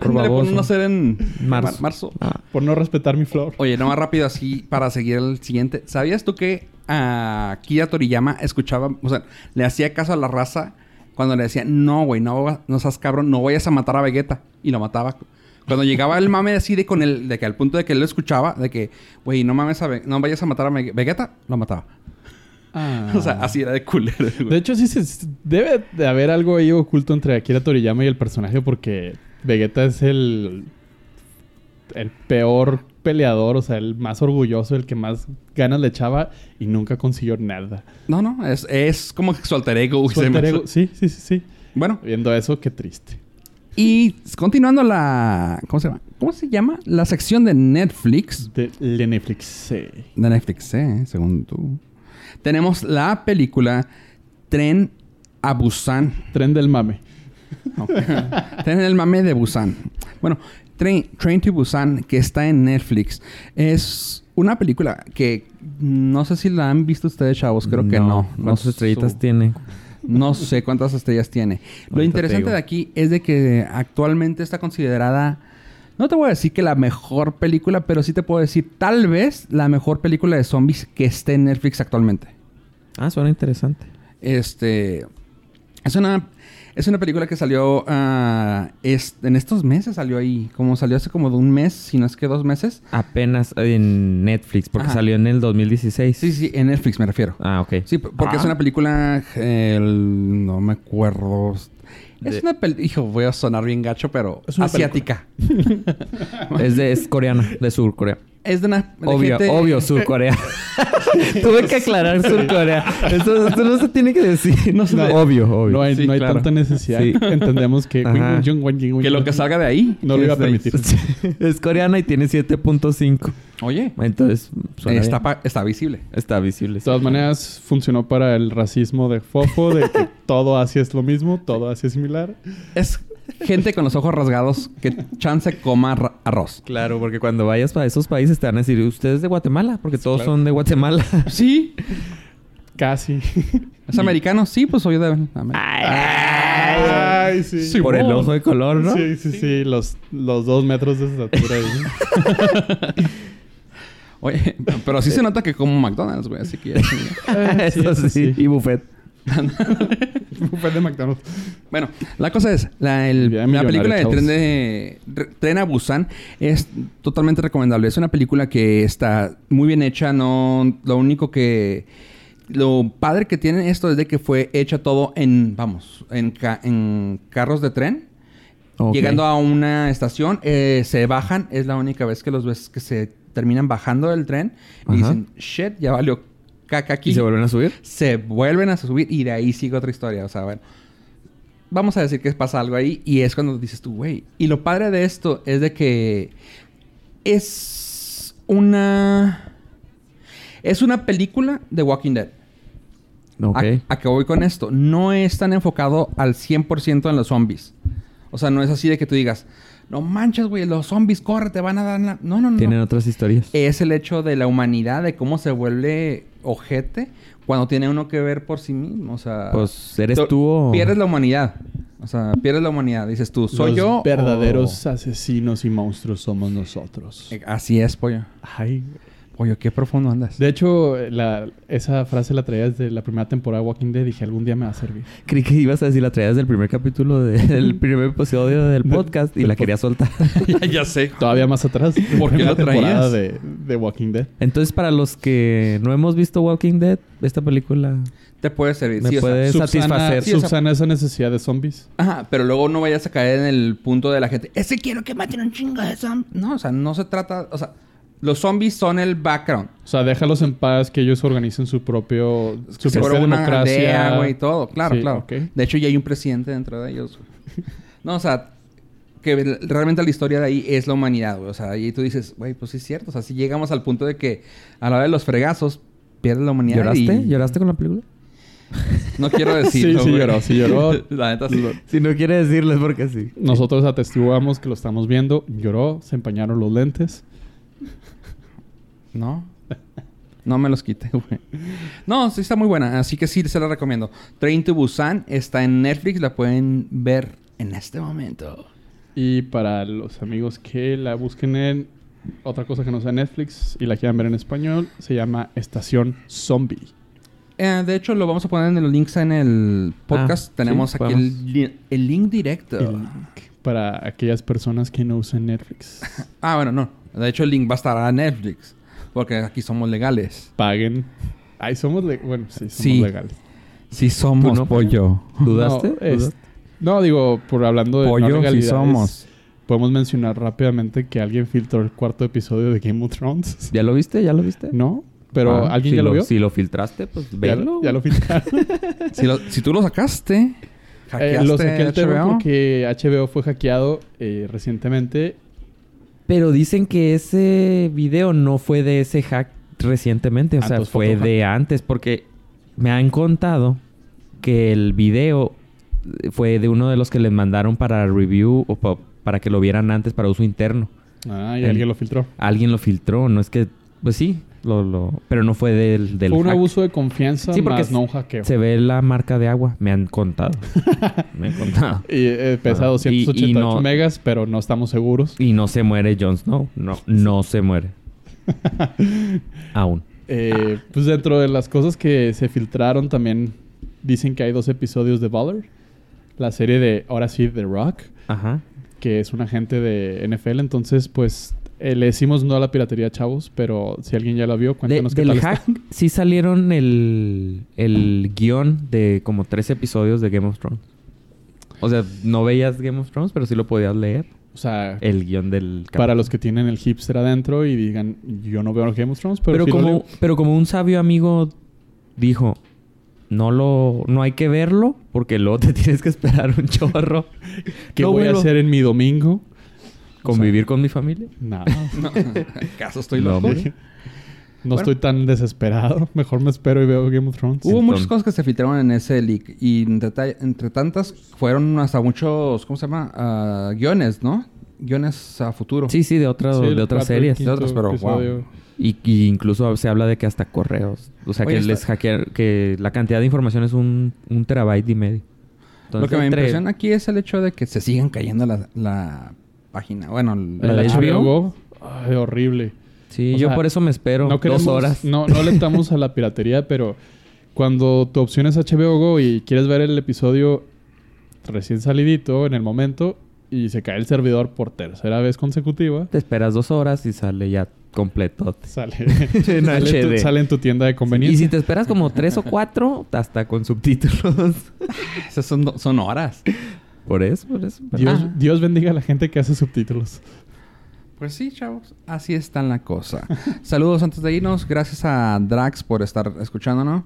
Ándale, baboso. pon un hacer en Marzo. mar- marzo. Ah, Por no respetar mi flor. Oye, no más rápido así para seguir el siguiente. ¿Sabías tú que a Kira Toriyama escuchaba, o sea, le hacía caso a la raza cuando le decía, no, güey, no, va- no seas cabrón, no vayas a matar a Vegeta. Y lo mataba. Cuando llegaba el mame así de con el, de que al punto de que él lo escuchaba, de que, güey, no mames a Ve- no vayas a matar a Ve- Vegeta, lo mataba. Ah. O sea, así era de culero, güey. De hecho, sí se, debe de haber algo ahí oculto entre Akira Toriyama y el personaje porque Vegeta es el, el peor peleador, o sea, el más orgulloso, el que más ganas le echaba y nunca consiguió nada. No, no, es, es como que su alter ego. güey, Su se me alter hace- ego- Sí, sí, sí, sí. Bueno, Viendo eso, qué triste. y continuando la... ¿Cómo se llama? ¿Cómo se llama? La sección de Netflix. De de Netflix. sí. De Netflix, eh, según tú. Tenemos la película Tren a Busan. Tren del mame. Tren el mame de Busan. Bueno, Train, Train to Busan, que está en Netflix, es una película que no sé si la han visto ustedes, chavos. Pues Creo que no. ¿Cuántas sé- estrellitas tiene? No sé cuántas estrellas tiene. Ahorita Lo te interesante digo. de aquí es de que actualmente está considerada... No te voy a decir que la mejor película, pero sí te puedo decir tal vez la mejor película de zombies que esté en Netflix actualmente. Ah, suena interesante. Este. Es una. Es una película que salió ah, es- en estos meses, salió ahí. Como salió hace como de un mes, si no es que dos meses. Apenas en Netflix, porque Ajá. salió en el 2016. Sí, sí, en Netflix me refiero. Ah, ok. Sí, p- porque es una película. eh, el- no me acuerdo. Es De- una película. Hijo, voy a sonar bien gacho, pero. Es una asiática. Es, de, es coreana, de Sur Corea. Es de una. de Obvio, gente- obvio, Sur Corea. Tuve que aclarar Sur Corea. Eso, eso no se tiene que decir. No. Obvio, obvio. No hay, Sí, no hay claro. tanta necesidad. Sí. Entendemos que... Ajá. Que lo que salga de ahí. No lo iba a es de- permitir. Es coreana y tiene 7.5. Oye, Entonces, suena está, bien. pa- está visible. Está visible. De todas maneras, funcionó para el racismo de Fofo, de que todo Asia es lo mismo, todo Asia es similar. Es gente con los ojos rasgados que chance coma ra- arroz. Claro, porque cuando vayas para esos países te van a decir, usted es de Guatemala, porque todos son de Guatemala. Sí, Casi. ¿Es americano? Sí, pues soy de Ah. América. Ay, sí. Por el ojo de color, ¿no? Sí, sí, sí. Los, los dos metros de estatura. ¿no? Oye, pero sí se nota que como McDonald's, güey. Así que ya chingué. Eso sí, Y buffet. Fue de McDonald's. Bueno, la cosa es, la, el- Ya la película de millonario, tren, de Re- tren a Busan es totalmente recomendable. Es una película que está muy bien hecha. No, lo único que... Lo padre que tiene esto es de que fue hecha todo en, vamos, en, ca- en carros de tren. Llegando a una estación, eh, se bajan. Es la única vez que los ves que se terminan bajando del tren. Y Ajá. dicen, shit, ya valió caca aquí. ¿Y se vuelven a subir? se vuelven a subir y de ahí sigue otra historia. O sea, bueno. Vamos a decir que pasa algo ahí y es cuando dices tú, güey. Y lo padre de esto es de que es una... Es una película de Walking Dead. Ok. A, a que voy con esto. No es tan enfocado al 100% en los zombies. O sea, no es así de que tú digas, no manches, güey, los zombies, corre, te van a dar... la-". No, no, no. Tienen otras historias. Es el hecho de la humanidad, de cómo se vuelve ojete cuando tiene uno que ver por sí mismo. O sea... Pues eres to- tú o... Pierdes la humanidad. O sea, pierdes la humanidad. Dices tú, soy los yo. verdaderos asesinos y monstruos somos nosotros. o-". Eh, Así es, pollo. Ay. Pollo, qué profundo andas. De hecho, la, esa frase la traía desde la primera temporada de Walking Dead. Dije, algún día me va a servir. Creí que ibas a decir la traías del primer capítulo de- del primer episodio del podcast y del la pod- quería soltar. ya sé. Todavía más atrás. ¿Por qué la la temporada traías? de, de Walking Dead. Entonces, para los que no hemos visto Walking Dead, esta película... Te puede servir. Me sí, o sea, puede- Es satisfacer. Sí, o sea- subsana esa necesidad de zombies. Ajá, pero luego no vayas a caer en el punto de la gente. Ese quiero que maten un chingo de zombies. No, o sea, no se trata. O sea, los zombies son el background. O sea, déjalos en paz, que ellos organicen su propio... Su Se propia fueron una aldea, democracia. güey, y todo. Claro, Sí, claro. ok. De hecho, ya hay un presidente dentro de ellos. güey. No, o sea, que el- realmente la historia de ahí es la humanidad, güey. O sea, y tú dices, güey, pues sí es cierto. O sea, si llegamos al punto de que a la hora de los fregazos pierdes la humanidad. ¿Lloraste? y- ¿Lloraste con la película? No quiero decirlo, Sí, sí güey. lloró, sí lloró. La neta sí. Si no quiere decirles porque sí. Nosotros atestiguamos que lo estamos viendo. Lloró, se empañaron los lentes. No. No me los quite, güey. No, sí está muy buena. Así que sí, se la recomiendo. Train to Busan está en Netflix. La pueden ver en este momento. Y para los amigos que la busquen en otra cosa que no sea Netflix y la quieran ver en español, se llama Estación Zombie. Eh, de hecho, lo vamos a poner en los links en el podcast. Ah, Tenemos sí, aquí el, li- el link directo. El link para aquellas personas que no usan Netflix. Ah, bueno, no. De hecho, el link va a estar a Netflix. Porque aquí somos legales. Paguen. Ay, somos le- bueno, sí, somos Sí. legales. Sí somos, ¿Tú no? pollo. ¿Dudaste? No, es- ¿Dudaste? no, digo, por hablando de no Pollo, sí legalidades, somos. Podemos mencionar rápidamente que alguien filtró el cuarto episodio de Game of Thrones. ¿Ya lo viste? ¿Ya lo viste? ¿No? Pero Ah, ¿alguien si ya lo, vio? Si lo filtraste, pues ya, velo. ya lo filtraron. Si, lo- si tú lo sacaste, Eh, hackeaste lo saqué el tema HBO. porque HBO fue hackeado eh, recientemente. Pero dicen que ese video no fue de ese hack recientemente, o Ah, sea, entonces fue fue otro de antes, porque me han contado que el video eh, fue de uno de los que les mandaron para review o pa- para que lo vieran antes para uso interno. Ah, y El- alguien lo filtró. Alguien lo filtró, no es que, pues sí, lo, lo- pero no fue del, del fue un hack. abuso de confianza Sí, porque más se- no un hackeo. Se ve la marca de agua, me han contado. me han contado. Y eh, pesa Ah, y- 288 y no- megas, pero no estamos seguros. Y no se muere Jon Snow, no, no se muere. Aún. Eh, Pues dentro de las cosas que se filtraron también dicen que hay dos episodios de Valor. La serie de, ahora sí, The Rock, Ajá. que es un agente de NFL. Entonces, pues, eh, le decimos no a la piratería, chavos, pero si alguien ya la vio, De- cuéntanos qué del tal hack está. sí salieron el, el guión de como tres episodios de Game of Thrones. O sea, no veías Game of Thrones, pero sí lo podías leer. O sea, El guión del cap- para los que tienen el hipster adentro y digan, yo no veo Game of Thrones, pero, Pero, sí lo como, leo". pero como un sabio amigo dijo, no lo, no hay que verlo, porque luego te tienes que esperar un chorro. ¿qué No, voy a velo. hacer en mi domingo? Convivir con mi familia. Nada. Ah, No, ¿Acaso estoy No, loco? hombre. No estoy tan desesperado. Mejor me espero y veo Game of Thrones. Hubo Entonces- muchas cosas que se filtraron en ese leak. Y entre, ta- entre tantas, fueron hasta muchos, ¿cómo se llama? Ah, guiones, ¿no? Guiones a futuro. Sí, sí, de, otra, Sí, el de otras cuarto y series. quinto De otras, pero, episodio. wow. Y, y incluso se habla de que hasta correos. O sea, Oye, que está- les hackear, que la cantidad de información es un, un terabyte y medio. Lo que me entre- impresiona aquí es el hecho de que se sigan cayendo la, la página. Bueno, el- ¿La de El HBO? HBO, Ah, ay, horrible. Sí, O yo sea, por eso me espero no queremos, dos horas. No, no alentamos a la piratería, pero cuando tu opción es HBO Go y quieres ver el episodio recién salidito, en el momento, y se cae el servidor por tercera vez consecutiva, Te esperas dos horas y sale ya completo. sale, sale, en tu, HD. sale en tu tienda de Y si conveniencia. te esperas como tres o cuatro, hasta con subtítulos. esas son, do- son horas. Por eso, por eso. pero- Dios, Ah, Dios bendiga a la gente que hace subtítulos. Pues sí, chavos. Así está la cosa. Saludos antes de irnos. Gracias a Drax por estar escuchándonos.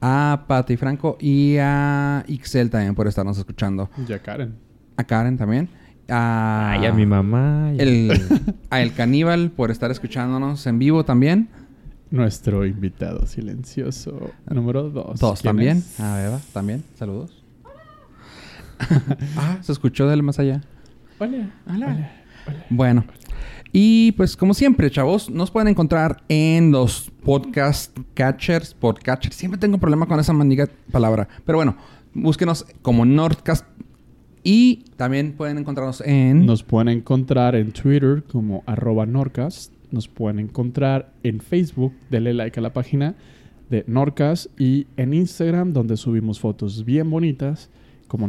A Pati Franco y a Ixel también por estarnos escuchando. Ya Karen. A Karen también. A, Ay, a mi mamá. y- El, a El Caníbal por estar escuchándonos en vivo también. Nuestro invitado silencioso número dos. Dos ¿Quién también. Ah. es? A Beba también. Saludos. ah, se escuchó del más allá. Hola. Hola. Bueno. Y pues como siempre, chavos, nos pueden encontrar en los podcast catchers, podcatchers. Siempre tengo problema con esa mandiga palabra. Pero bueno, búsquenos como Nordcast. Y también pueden encontrarnos ¿Mm? en... Nos pueden encontrar en Twitter como arroba Norcast. Nos pueden encontrar en Facebook. Denle like a la página de Norcast. Y en Instagram, donde subimos fotos bien bonitas como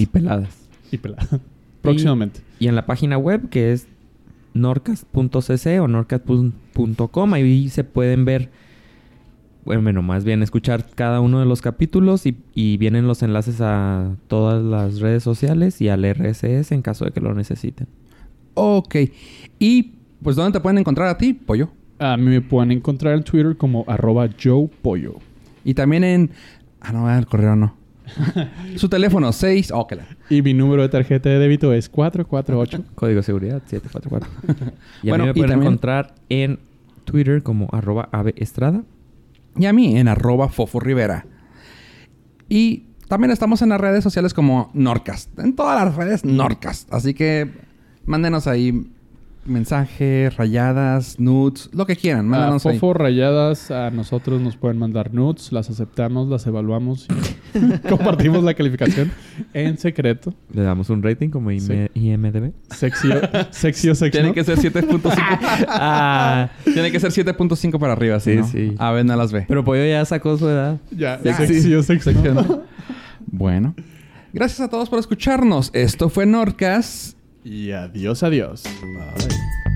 Y peladas. Y pelada. Próximamente. Y en la página web que es norcas.cc o norcas.com. Ahí se pueden ver, bueno, más bien escuchar cada uno de los capítulos y, y vienen los enlaces a todas las redes sociales y al RSS en caso de que lo necesiten. Ok. Y pues ¿dónde te pueden encontrar a ti, pollo? A mí Ah, me pueden encontrar en Twitter como arroba Joe Pollo. Y también en... Ah, no, el correo no. Su teléfono, 6... Oh, que la- Y mi número de tarjeta de débito es 448. Código de seguridad 744. y a Bueno, mí me y pueden también- encontrar en Twitter como arroba aveestrada. y a mí en arroba Fofo Rivera. Y también estamos en las redes sociales como Norcast. En todas las redes Norcast. Así que mándenos ahí mensaje, rayadas, nudes, lo que quieran. A Mándanos ahí. Ah, Fofo Rayadas, a nosotros nos pueden mandar nudes, las aceptamos, las evaluamos y compartimos la calificación en secreto. Le damos un rating como IM- Sí. IMDB. Sexy o sexy. o sexy Tiene ¿no? que ser 7.5. Ah, Tiene que ser 7.5 para arriba, Sí, sí, sí. sí. A ver, no las ve. pero Pollo ya sacó su edad. Ya, Ya, sexy sí. o sexy. ¿no? Bueno. Gracias a todos por escucharnos. Esto fue Nordcast. Y adiós, adiós. Bye.